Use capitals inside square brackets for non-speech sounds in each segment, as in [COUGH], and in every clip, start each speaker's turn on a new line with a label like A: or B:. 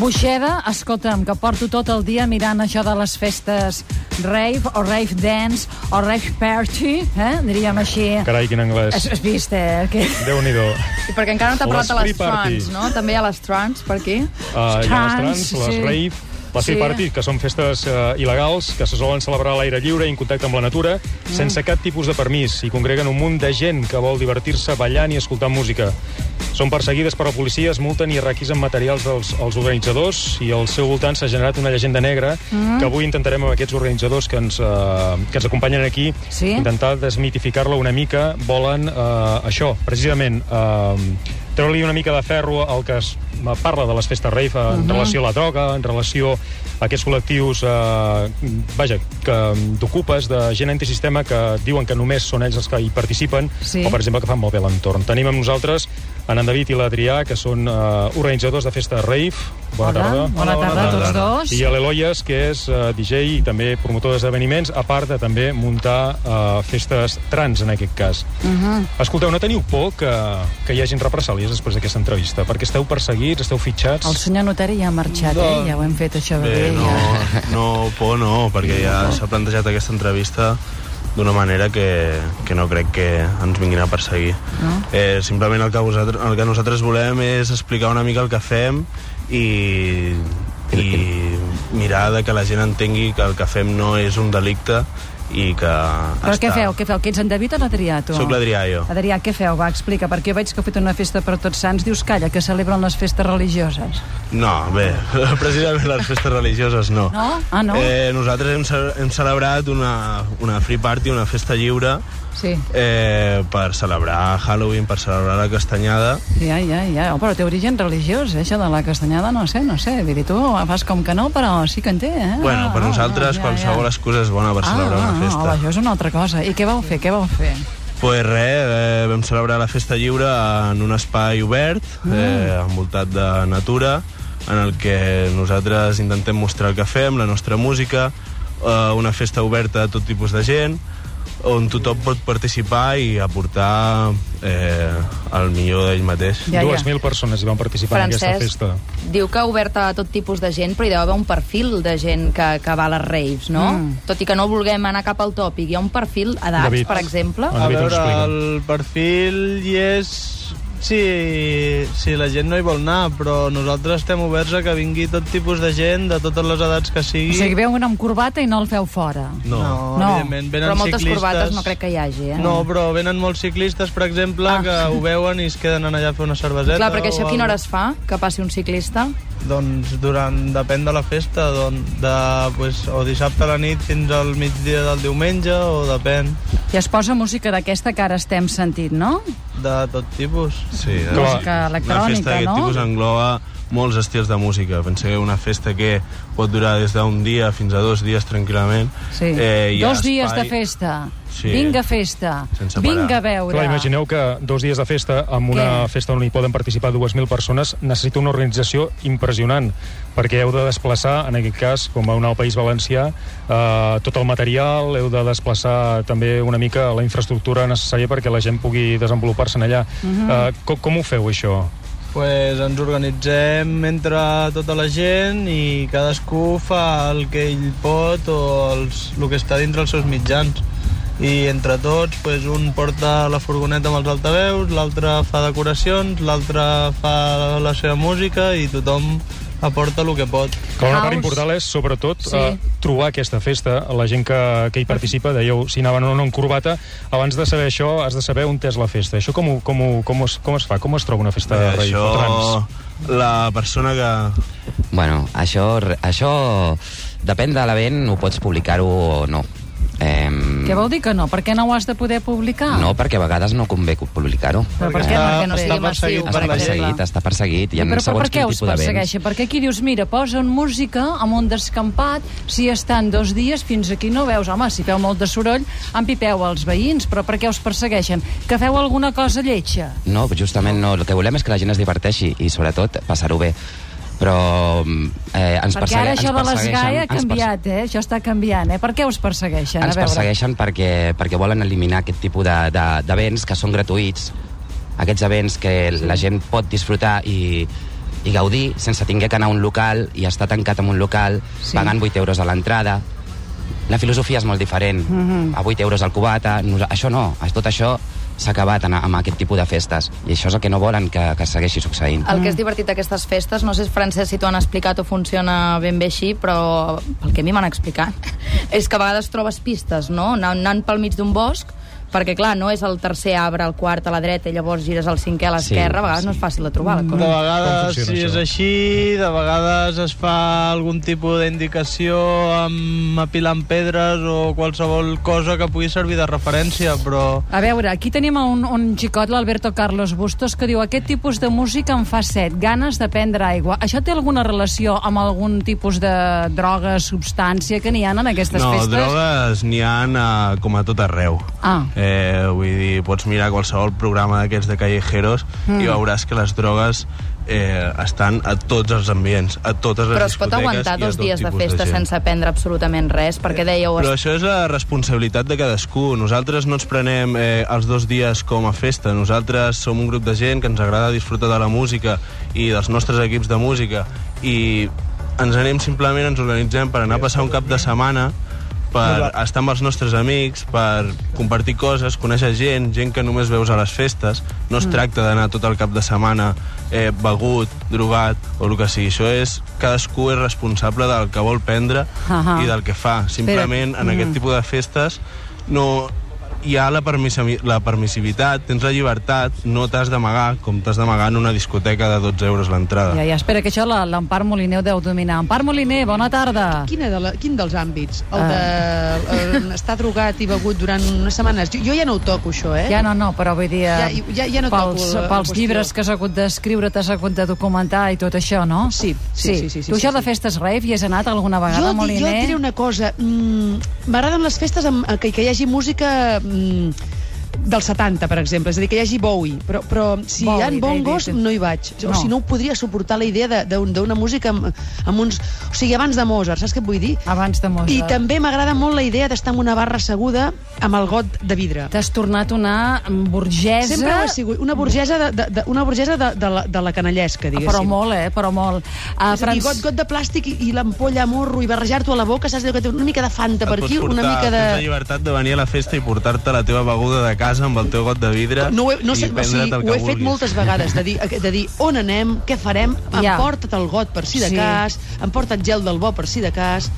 A: Buixeda, escolta'm, que porto tot el dia mirant això de les festes rave, o rave dance, o rave party, eh? diríem així.
B: Carai, quin anglès.
A: Has, has vist, eh? Que...
B: Déu-n'hi-do.
C: Sí, perquè encara no t'ha
B: Les
C: parlat de
B: free
C: les
B: party.
C: trans, no? També hi ha les trans, per aquí.
B: Uh, hi ha les trans,
A: Trans,
B: les
A: sí.
B: rave, les sí.
A: Sí.
B: party, que són festes uh, il·legals que se solen celebrar a l'aire lliure i en contacte amb la natura,
A: Mm.
B: sense cap tipus de permís, i congreguen un munt de gent que vol divertir-se ballant i escoltant música. Són perseguides per la policia, es multen i requisen materials dels els organitzadors i al seu voltant s'ha generat una llegenda negra mm. que avui intentarem amb aquests organitzadors que ens, uh, que ens acompanyen aquí
A: Sí.
B: intentar desmitificar-la una mica. Volen uh, això, precisament, uh, treure-li una mica de ferro al que es eh, parla de les festes rave en relació a la droga, en relació a aquests col·lectius eh, vaja, que t'ocupes de gent antisistema que diuen que només són ells els que hi participen
A: Sí.
B: o, per exemple, que fan molt bé l'entorn. Tenim amb nosaltres en en David i l'Adrià, que són eh, organitzadors de festes rave. Bona tarda.
A: Bona, tarda a tots dos.
B: I a l'Eloies, que és eh, DJ i també promotor d'esdeveniments, a part de també muntar eh, festes trans, en aquest cas. Uh
A: Uh-huh.
B: -huh. Escolteu, no teniu por que, que hi hagin represàlies després d'aquesta entrevista? Perquè esteu perseguits, esteu fitxats...
A: El senyor notari ja ha marxat, no. eh? Ja ho hem fet, això.
D: Bé,
A: bé,
D: no,
A: ja.
D: no, por no, perquè ja s'ha plantejat aquesta entrevista d'una manera que, que no crec que ens vinguin a perseguir. No? Eh, simplement el que, vosaltres, el que nosaltres volem és explicar una mica el que fem i, i mirar de que la gent entengui que el que fem no és un delicte i que
A: Però
D: està...
A: què feu? Què feu? Que ets en David o l'Adrià, tu?
D: Soc l'Adrià, jo.
A: Adrià, què feu? Va, explica, perquè jo veig que heu fet una festa per tots sants. Dius, calla, que celebren les festes religioses.
D: No, bé, [LAUGHS] precisament les festes religioses no.
A: No? Ah, no?
D: Eh, nosaltres hem, ce- hem celebrat una, una free party, una festa lliure,
A: Sí.
D: eh, per celebrar Halloween, per celebrar la castanyada.
A: Ja, ja, ja. Oh, però té origen religiós, eh? això de la castanyada, no sé, no sé. Vull dir, tu fas com que no, però sí que en té, eh?
D: bueno, per nosaltres qualsevol excusa és bona per celebrar
A: ah,
D: una festa.
A: Ah, això és una altra cosa. I què vau fer, què vau fer?
D: pues res, eh, vam celebrar la festa lliure en un espai obert,
A: Mm.
D: eh, envoltat de natura, en el que nosaltres intentem mostrar el que fem, la nostra música, eh, una festa oberta a tot tipus de gent, on tothom pot participar i aportar eh, el millor d'ell mateix.
A: Ja, ja.
B: 2.000 persones hi van participar en aquesta
C: Francesc
B: festa.
C: diu que oberta a tot tipus de gent, però hi deu haver un perfil de gent que, que va a les raves, no?
A: Mm.
C: Tot i que no vulguem anar cap al tòpic, hi ha un perfil edats,
B: David.
C: per exemple?
B: Ah.
E: A
B: David ens
E: veure,
B: explica.
E: el perfil hi és si, si la gent no hi vol anar, però nosaltres estem oberts a que vingui tot tipus de gent, de totes les edats que
A: O
E: sigui.
A: sigui, veu un amb corbata i no el feu fora.
D: No.
E: no,
A: No.
E: evidentment, venen
C: Però moltes
E: ciclistes...
C: corbates no crec que hi hagi, eh?
E: No, però venen molts ciclistes, per exemple,
A: Ah.
E: ah. que ho veuen i es queden allà a fer una cerveseta.
C: Clar, perquè això
E: o
C: a quina
E: algo.
C: hora es fa, que passi un ciclista?
E: Doncs durant, depèn de la festa, doncs, de, pues, o dissabte a la nit fins al migdia del diumenge, o depèn,
A: I es posa música d'aquesta que ara estem sentint, no?
E: de tot tipus.
D: Sí, eh?
A: Música electrònica,
D: Una festa d'aquest
A: no?
D: tipus engloba molts estils de música. Penseu que una festa que pot durar des d'un dia fins a dos dies tranquil·lament. eh,
A: Sí.
D: hi ha
A: Dos dies
D: espai-
A: de festa.
D: Sí.
A: Vinga festa.
D: Sense parar.
A: Vinga a veure.
B: Clar, imagineu que dos dies de festa, amb una
A: Què?
B: festa on hi poden participar 2.000 persones, necessita una organització impressionant, perquè heu de desplaçar, en aquest cas, com va anar al País Valencià, eh, tot el material, heu de desplaçar també una mica la infraestructura necessària perquè la gent pugui desenvolupar-se en allà.
A: Mhm.
B: eh, com, com ho feu, això?
E: Pues ens organitzem entre tota la gent i cadascú fa el que ell pot o els, el que està dintre els seus mitjans. I entre tots, pues, un porta la furgoneta amb els altaveus, l'altre fa decoracions, l'altre fa la seva música i tothom aporta el que pot.
B: Clar, una part
A: House.
B: important és, sobretot,
A: Sí.
B: sí. eh, trobar aquesta festa, la gent que, que hi participa, dèieu si anaven o no en corbata, abans de saber això has de saber on és la festa. Això com, ho- com, ho- com, es, com es fa? Com es troba una festa
D: Bé,
B: de rei?
D: això, la persona que...
F: Bueno, això, això depèn de l'event, ho pots publicar-ho o no. Eh,
A: Què vol dir que no? Per què no ho has de poder publicar?
F: No, perquè a vegades no convé publicar-ho.
A: Però per què?
E: Està-
A: Perquè no
E: està
A: sigui massiu,
E: perseguit per la
F: Està
E: gent.
F: perseguit, està perseguit. Hi ha
A: però, però per
F: segons
A: què
F: quin
A: us
F: tipus d'events.
A: persegueixen? Perquè aquí dius, mira, posen música amb un descampat, si estan dos dies fins aquí no veus. Home, si feu molt de soroll, empipeu els veïns, però per què us persegueixen? Que feu alguna cosa lletja?
F: No, justament no. El que volem és que la gent es diverteixi i, sobretot, passar-ho bé. Però mm, eh, ens,
A: perquè
F: persegue-
A: ara això
F: ens
A: de les
F: persegueixen-
A: GAE ha
F: ens perse-
A: canviat, eh? Això està canviant, eh? Per què us persegueixen?
F: Ens
A: a veure.
F: persegueixen perquè, perquè volen eliminar aquest tipus de- de- d'events que són gratuïts, aquests events que la gent pot disfrutar i, i gaudir sense tinguer que anar a un local i estar tancat en un local
A: Sí.
F: sí. pagant 8 euros a l'entrada. La filosofia és molt diferent.
A: Mhm.
F: A 8 euros al cubata, nos- això no. Tot això s'ha acabat en, amb aquest tipus de festes. I això és el que no volen que, que segueixi succeint.
C: El que
D: Mm.
C: és divertit d'aquestes festes, no sé, Francesc, si t'ho han explicat o funciona ben bé així, però pel que a mi m'han explicat, [LAUGHS] és que a vegades trobes pistes, no? Anant- Anant pel mig d'un bosc, perquè, clar, no és el tercer arbre, el quart a la dreta, i llavors gires el cinquè a l'esquerra, a vegades
F: sí.
C: no és fàcil de trobar la
E: De
D: Mm.
C: cosa.
E: vegades,
B: funciona
E: si
B: això?
E: és així, de vegades es fa algun tipus d'indicació amb apilant pedres o qualsevol cosa que pugui servir de referència, però...
A: A veure, aquí tenim un, un xicot, l'Alberto Carlos Bustos, que diu aquest tipus de música em fa set, ganes de prendre aigua. Això té alguna relació amb algun tipus de droga, substància que n'hi ha en aquestes
D: no,
A: festes?
D: drogues n'hi ha a, com a tot arreu.
A: Ah.
D: Eh, vull dir, pots mirar qualsevol programa d'aquests de callejeros mm. i veuràs que les drogues eh, estan a tots els ambients, a totes les
C: Però es pot
D: discoteques
C: aguantar
D: i a
C: dos
D: tot
C: dies de
D: tipus
C: festa
D: gent.
C: sense prendre absolutament res, perquè dèieu...
D: Però això és la responsabilitat de cadascú. Nosaltres no ens prenem eh, els dos dies com a festa. Nosaltres som un grup de gent que ens agrada disfrutar de la música i dels nostres equips de música. I ens anem simplement, ens organitzem per anar a passar un cap de setmana per estar amb els nostres amics, per compartir coses, conèixer gent, gent que només veus a les festes. No es tracta d'anar tot el cap de setmana eh, begut, drogat o el que sigui. Això és... Cadascú és responsable del que vol prendre
A: Ahà.
D: i del que fa. Simplement, en
G: Mm.
D: aquest tipus de festes, no hi ha la, permissi la permissivitat, tens la llibertat, no t'has d'amagar, com t'has d'amagar en una discoteca de 12 euros l'entrada.
A: Ja, ja, espera, que això la- l'Empar Moliner ho deu dominar. Empar Moliner, bona tarda.
G: Quina de la, quin dels àmbits?
A: Ah.
G: El de eh, estar drogat i begut durant unes setmanes? Jo, jo ja no ho toco, això, eh?
A: Ja no, no, però vull dir... eh,
G: Ja- ja- ja no toco
A: pels,
G: la- la
A: pels
G: qüestió.
A: llibres que has hagut d'escriure, t'has hagut de documentar i tot això, no?
G: Sí, sí, sí, sí, sí,
A: tu
G: sí,
A: això
G: sí.
A: de festes rave hi has anat alguna vegada,
G: jo, di-
A: Moliner?
G: jo et diré una cosa. mm, M'agraden les festes amb, eh, que, que hi hagi música... Mm, del 70, per exemple, és a dir, que hi hagi Bowie, però, però si
A: Bowie,
G: hi ha bongos
A: David.
G: no hi vaig,
A: No.
G: o si no ho podria suportar la idea de- d'un- d'una música amb, amb uns... O sigui, abans de Mozart, saps què et vull dir?
A: Abans de Ah, Mozart.
G: I també m'agrada molt la idea d'estar en una barra asseguda amb el got de vidre.
A: T'has tornat una burgesa...
G: Sempre ho he sigut, una burgesa de, de, de, una burgesa de, de, la, de la canallesca, diguéssim.
A: Però molt, eh? Però molt. Uh,
G: És a dir, got, got de plàstic i, i l'ampolla a morro i barrejar-t'ho a la boca, saps allò que té una mica de fanta per
D: Et pots
G: aquí, una mica de...
D: Tens la llibertat de venir a la festa i portar-te la teva beguda de casa amb el teu got de vidre
G: No, ho he, no
D: i
G: sé, o sigui,
D: prendre't el
G: ho
D: que
G: he fet
D: vulguis.
G: moltes vegades, de dir, de dir on anem, què farem, em
A: Ja.
G: porta't el got per si de
A: Sí.
G: cas, em porta't gel del bo per si de cas,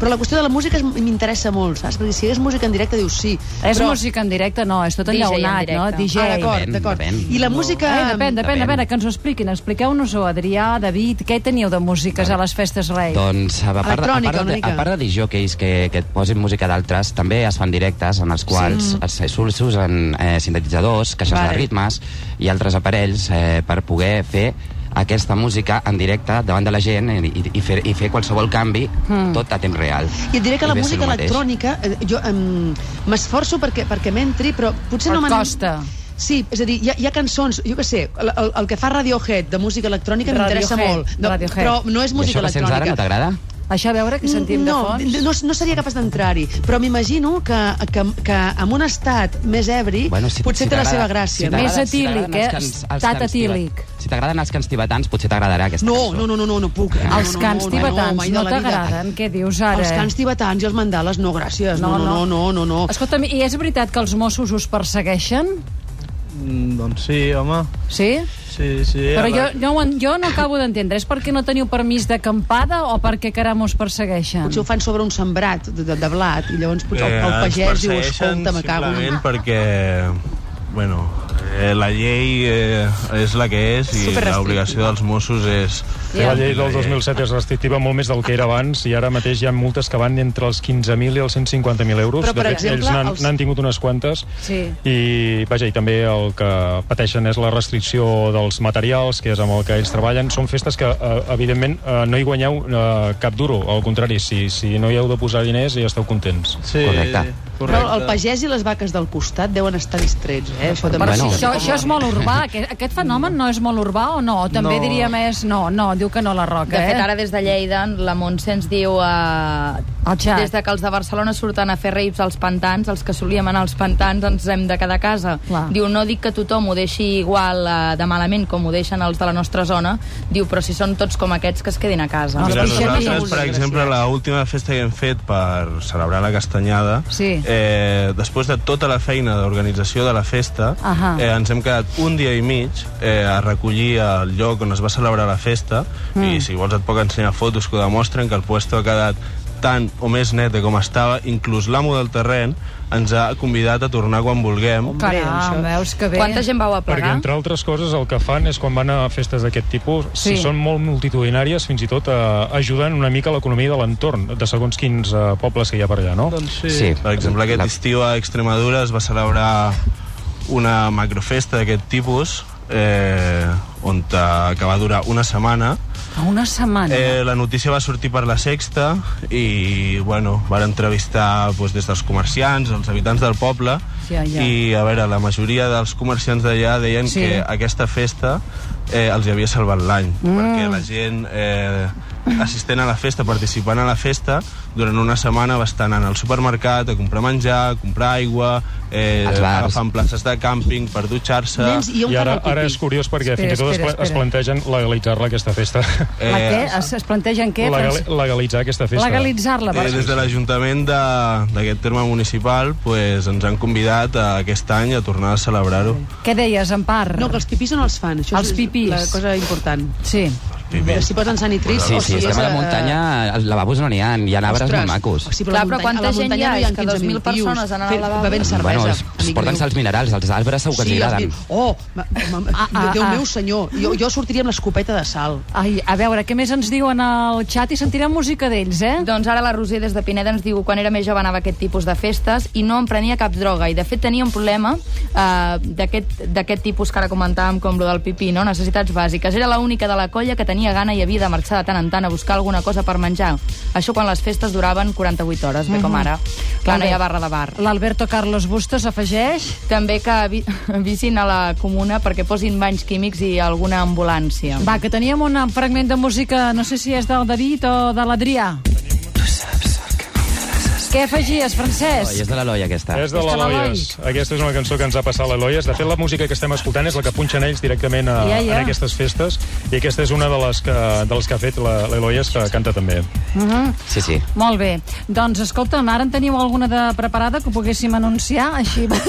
G: però la qüestió de la música és- m'interessa molt, saps? Perquè si és música en directe dius sí,
A: És
G: però...
A: música en directe? No, és tot
C: DJ en
A: enllaunat, no?
C: directe.
A: DJ.
G: Ah, d'acord,
F: Depèn,
G: d'acord.
F: depèn.
G: I la música...
A: Eh, depèn, depèn,
F: Depèn.
A: a veure, que ens ho expliquin. Expliqueu-nos-ho, Adrià, David, què teníeu de músiques a les festes rei?
F: Doncs a part, de- a
G: Electrònica,
F: part,
G: una
F: de,
G: mica.
F: a part de disjòqueis que, que et posin música d'altres, també es fan directes en els quals sí. s'usen eh, sintetitzadors, caixes
G: Vale.
F: de ritmes i altres aparells eh, per poder fer aquesta música en directe davant de la gent i, i, i, fer, i fer qualsevol canvi mm. tot a temps real.
G: I Hmm. et diré que la
F: ve a ser
G: música
F: el mateix.
G: electrònica, eh, jo em, m'esforço perquè, perquè m'entri, però potser
A: Però
G: no m'han...
A: costa.
G: Sí, és a dir, hi ha, hi ha cançons, jo què sé, el, el, el que fa Radiohead de música electrònica m'interessa
A: Radiohead,
G: molt. No,
A: Radiohead.
G: però no és
F: I
G: música
F: això que sents ara no
G: electrònica.
F: t'agrada?
A: Això, a veure, que sentim
G: no,
A: de fons.
G: No, no seria capaç d'entrar-hi, però m'imagino que, que, que en un estat més ebri
F: Bueno, si,
G: potser
F: si
G: té la
F: t'agrada-
G: seva gràcia. no?
A: Més
F: t'agrada-
A: etílic,
F: t'agraden els
A: eh?
F: cants- els
A: Estat
F: cants
A: etílic.
F: tibetans- Si t'agraden els cants tibetans, potser t'agradarà aquesta
G: No,
F: cançó.
G: no, no, no, no, no puc. No,
A: Els
G: no,
A: cants
G: no,
A: tibetans
G: mai de
A: no
G: la vida.
A: t'agraden? Què dius ara? eh?
G: Els cants tibetans i els mandales, no, gràcies. No, no, no, no, no. no.
A: Escolta'm, i és veritat que els Mossos us persegueixen?
E: Mm, doncs sí, home.
A: Sí?
E: Sí, sí.
A: Però
E: a
A: jo,
E: la-
A: jo, no, en- jo no acabo d'entendre. És perquè no teniu permís d'acampada o perquè caram us persegueixen?
G: Potser ho fan sobre un sembrat de, de, de blat i llavors potser el, el
D: ens
G: pagès diu,
D: Eh, persegueixen
G: escolta, me cago. en-".
D: Simplement perquè, bueno, eh, la llei eh, és la que és i
G: Superrestrictiva.
D: l'obligació dels Mossos és...
B: Yeah. La llei del 2007 és restrictiva molt més del que era abans i ara mateix hi ha multes que van entre els 15.000 i els 150.000 euros.
G: Però, per
B: de fet,
G: exemple,
B: ells n'han
G: els-
B: els... tingut unes quantes
A: Sí.
B: i, vaja, i també el que pateixen és la restricció dels materials, que és amb el que ells treballen. Són festes que, eh, evidentment, eh, no hi guanyeu eh, cap duro, al contrari, si, si no hi heu de posar diners ja esteu contents.
E: Sí,
F: Correcte.
G: Correcte. Però el pagès i les vaques del costat deuen estar distrets, eh? Això també
A: Però
F: Bueno,
A: si això,
F: sí.
A: això és molt urbà. Aquest, aquest fenomen no és molt urbà o no? També
E: No.
A: diria més... No, no, diu que no la Roca,
C: De fet,
A: eh?
C: ara des de Lleida, la Montse ens diu... Eh,
A: El xat.
C: des de que els de Barcelona surten a fer raves als pantans, els que solíem anar als pantans ens hem de quedar a casa.
A: Clar.
C: Diu, no dic que tothom ho deixi igual eh, de malament com ho deixen els de la nostra zona. Diu, però si són tots com aquests, que es quedin a casa.
A: No,
D: Mira,
A: els pixem i
D: nosaltres,
A: els
D: per exemple, la última festa que hem fet per celebrar la castanyada,
A: Sí.
D: eh, després de tota la feina d'organització de la festa,
A: Ahà.
D: eh, ens hem quedat un dia i mig eh, a recollir el lloc on es va celebrar la festa, i si vols et puc ensenyar fotos que ho demostren, que el puesto ha quedat tant o més neta com estava, inclús l'amo del terreny ens ha convidat a tornar quan vulguem.
A: Caram,
G: Bé, això.
A: veus que bé.
C: Quanta gent vau
B: Perquè,
C: aplegar?
B: entre altres coses, el que fan és, quan van a festes d'aquest tipus,
A: Sí.
B: si són molt multitudinàries, fins i tot eh, ajuden una mica l'economia de l'entorn, de segons quins eh, pobles que hi ha per allà, no?
E: Doncs sí.
F: Sí.
D: Per exemple, aquest
F: La-
D: estiu a Extremadura es va celebrar una macrofesta d'aquest tipus eh, on eh, que va durar una setmana.
A: A Una setmana.
D: Eh, la notícia va sortir per la Sexta i, bueno, van entrevistar doncs, des dels comerciants, els habitants del poble
A: Ja, ja.
D: i, a veure, la majoria dels comerciants d'allà deien
A: Sí.
D: que aquesta festa eh, els hi havia salvat l'any mm. perquè la gent eh, assistent a la festa, participant a la festa durant una setmana va estar anant al supermercat a comprar menjar, a comprar aigua eh,
F: Als bars.
D: agafant places de càmping per dutxar-se
G: Nens i on
B: I ara,
G: fan el
B: ara
G: pipí?
B: és curiós perquè
A: Espera,
B: fins i tot es,
A: espera,
B: pla- es
A: espera.
B: plantegen legalitzar-la, aquesta festa.
A: la què?
D: eh,
A: Es, es plantegen [LAUGHS] què?
B: Legal,
A: Francis?
B: legalitzar aquesta festa.
A: Legalitzar-la.
D: Eh,
A: per-
D: des de l'Ajuntament de- d'aquest terme municipal pues, ens han convidat a, aquest any a tornar a celebrar-ho.
A: Què deies, Empar?
G: No, que els pipís on els fan. Això
A: Els
G: és
A: pipís.
G: la cosa important.
A: Sí.
G: S'hi posen sanitrits.
F: Sí,
G: o
F: sí,
G: si
F: estem a la
G: eh,
F: muntanya, els lavabos no n'hi ha, hi ha arbres
G: ostres,
F: molt macos.
G: O sigui,
C: Clar,
G: la
C: però
G: muntanya-
C: quanta
G: a la
C: gent
G: muntanya
C: hi ha?
G: no hi ha
C: És que
G: 15.000
C: 2.000 persones anant al
G: Fer-
C: lavabo.
G: Bevent cervesa,
F: bueno, es, es
G: amic
F: porten
G: meu.
F: els minerals, els arbres segur que els
G: Sí, els
F: agraden.
G: minerals. Oh, ma, ma, ma,
A: Ah, ah,
G: Déu
A: ah.
G: meu senyor, jo, jo sortiria amb l'escopeta de sal.
A: Ai, a veure, què més ens diuen al xat i sentirem música d'ells, eh?
C: Doncs ara la Roser des de Pineda ens diu quan era més jove anava a aquest tipus de festes i no em prenia cap droga i de fet tenia un problema eh, d'aquest d'aquest tipus que ara comentàvem com lo del pipí, no? necessitats bàsiques. Era l'única de la colla que tenia gana i havia de marxar de tant en tant a buscar alguna cosa per menjar. Això quan les festes duraven 48 hores, bé com ara. Clar, no hi ha barra de bar.
A: L'Alberto Carlos Bustos afegeix...
C: També que avi- [LAUGHS] avisin a la comuna perquè posin banys químics i alguna ambulància.
A: Va, que teníem un fragment de música, no sé si és del David o de l'Adrià. Què afegies,
F: I
A: Francesc?
F: és de l'Eloi, aquesta.
B: És de
A: És de
B: l'Eloies. Aquesta és una cançó que ens ha passat l'Eloies. De fet, la música que estem escoltant és la que punxen ells directament a,
A: Ja, ja.
B: en aquestes festes. I aquesta és una de les que, de les que ha fet la- l'Eloies, que canta també.
F: Sí, sí.
A: Molt bé. Doncs, escolta'm, ara en teniu alguna de preparada que poguéssim anunciar? [LAUGHS] Així...
F: Ah,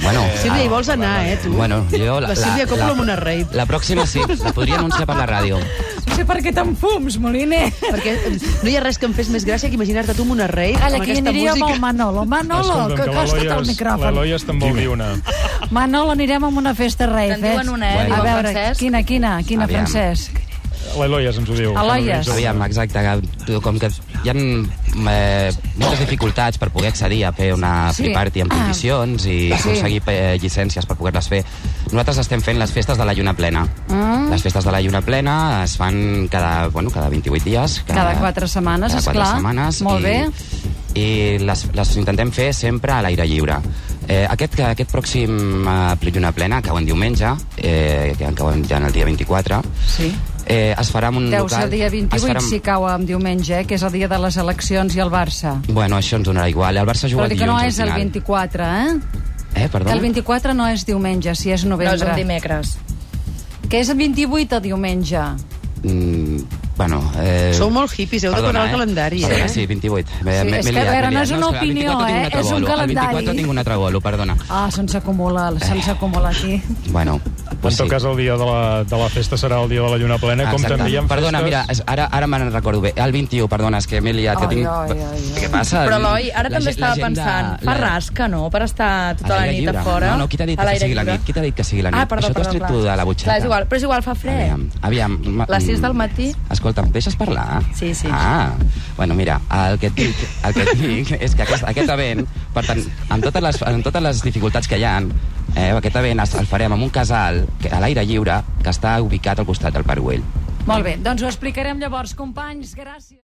F: Bueno,
G: Sílvia, hi vols anar, eh, tu?
F: Bueno, jo...
G: La Sílvia Coppola amb una raid.
F: La pròxima sí, la podria anunciar per la ràdio.
A: No sé per què t'enfums, Moliner.
G: Perquè eh, no hi ha res que em fes més gràcia que imaginar-te tu amb una rei
A: Calla,
G: amb
A: que hi
G: aquesta
A: aniríem amb el
G: música.
A: Manolo. Manolo,
B: Escolta'm,
A: que acosta't al
B: l'Eloies-
A: micròfon.
B: L'Eloies te'n vol dir una.
A: Manolo, anirem a una festa rave.
C: Te'n diuen una, eh?
A: A
C: Diuen
A: veure,
C: Francesc.
A: quina, quina, quina,
F: Aviam.
A: Francesc?
B: L'Eloies ens ho diu.
A: Eloies.
F: Aviam, exacte, que tu- com que hi ha eh, moltes dificultats per poder accedir a fer una
A: Sí.
F: free party en
A: Ah.
F: condicions i aconseguir eh, llicències per poder-les fer. Nosaltres estem fent les festes de la lluna plena.
A: Mm.
F: Les festes de la lluna plena es fan cada, bueno, cada 28 dies.
A: Cada quatre setmanes,
F: cada quatre
A: esclar.
F: setmanes.
A: Molt
F: i,
A: bé.
F: I les, les intentem fer sempre a l'aire lliure. Eh, aquest, aquest pròxim eh, lluna plena cau en diumenge, eh, que en cau en- ja en el dia 24,
A: Sí.
F: eh, es farà en un
A: Deu
F: local...
A: ser el dia 28,
F: es farà en-
A: si cau en diumenge, eh, que és el dia de les eleccions i el Barça.
F: Bueno, això ens donarà igual. El Barça
A: Però
F: juga
A: dic que no
F: dilluns,
A: és
F: al
A: el
F: final.
A: 24, eh?
F: Eh, perdó?
A: Que el 24 no és diumenge, si és
C: No, és
A: novembre.
C: doncs un dimecres.
A: que és el 28 el diumenge.
F: Mm, bueno... Eh...
G: Sou molt hippies, heu de parar el calendari, eh?
F: Perdona, sí, 28.
A: Sí,
F: M'he- m'he
A: és que,
F: liat,
A: a veure,
F: m'he
A: no
F: liat.
A: és una
F: que el
A: opinió,
F: 24
A: eh?
F: tinc un altre
A: És un
F: bolo. El
A: calendari.
F: 24 tinc un altre bolo, perdona.
A: Ah, se'ns acumula,
F: Eh.
A: se'ns acumula aquí.
F: Bueno,
B: En
F: pues
B: tot
F: sí. Ah,
B: cas, el dia de la, de la festa serà el dia de la lluna plena, com
F: Exacte.
B: també hi ha
F: Perdona,
B: festes...
F: mira, és- ara, ara me'n recordo bé. El 21, perdona, és que m'he liat.
A: Ai,
F: que tinc...
A: ai, ai, ai.
F: Què passa?
C: Però, Eloi, ara
F: La
C: també
F: gent- la
C: estava
F: gent de-
C: pensant, fa
F: la-
C: rasca, no?, per estar tota
F: a
C: la
F: l'aire
C: nit a
F: lliure.
C: fora?
F: No, no, qui t'ha dit
C: A
F: que
C: l'aire
F: sigui la
C: lliure.
F: nit? Qui t'ha dit que sigui la nit?
C: Ah, perdó,
F: Això t'ho has
C: perdó,
F: tret
C: clar.
F: tu de la butxaca.
C: Clar, és igual, però és igual, fa fred.
F: Aviam, aviam. ma-
C: Les sis del matí.
F: Escolta, em deixes parlar?
C: Sí, sí.
F: Ah, bueno, mira, el que et dic, el
C: [LAUGHS]
F: que et dic és que aquest, aquest event, per tant, amb totes les, amb totes les dificultats que hi ha, eh, aquest event es, el farem amb un casal que, a l'aire lliure que està ubicat al costat del Parguell.
A: Molt bé, doncs ho explicarem llavors, companys. Gràcies.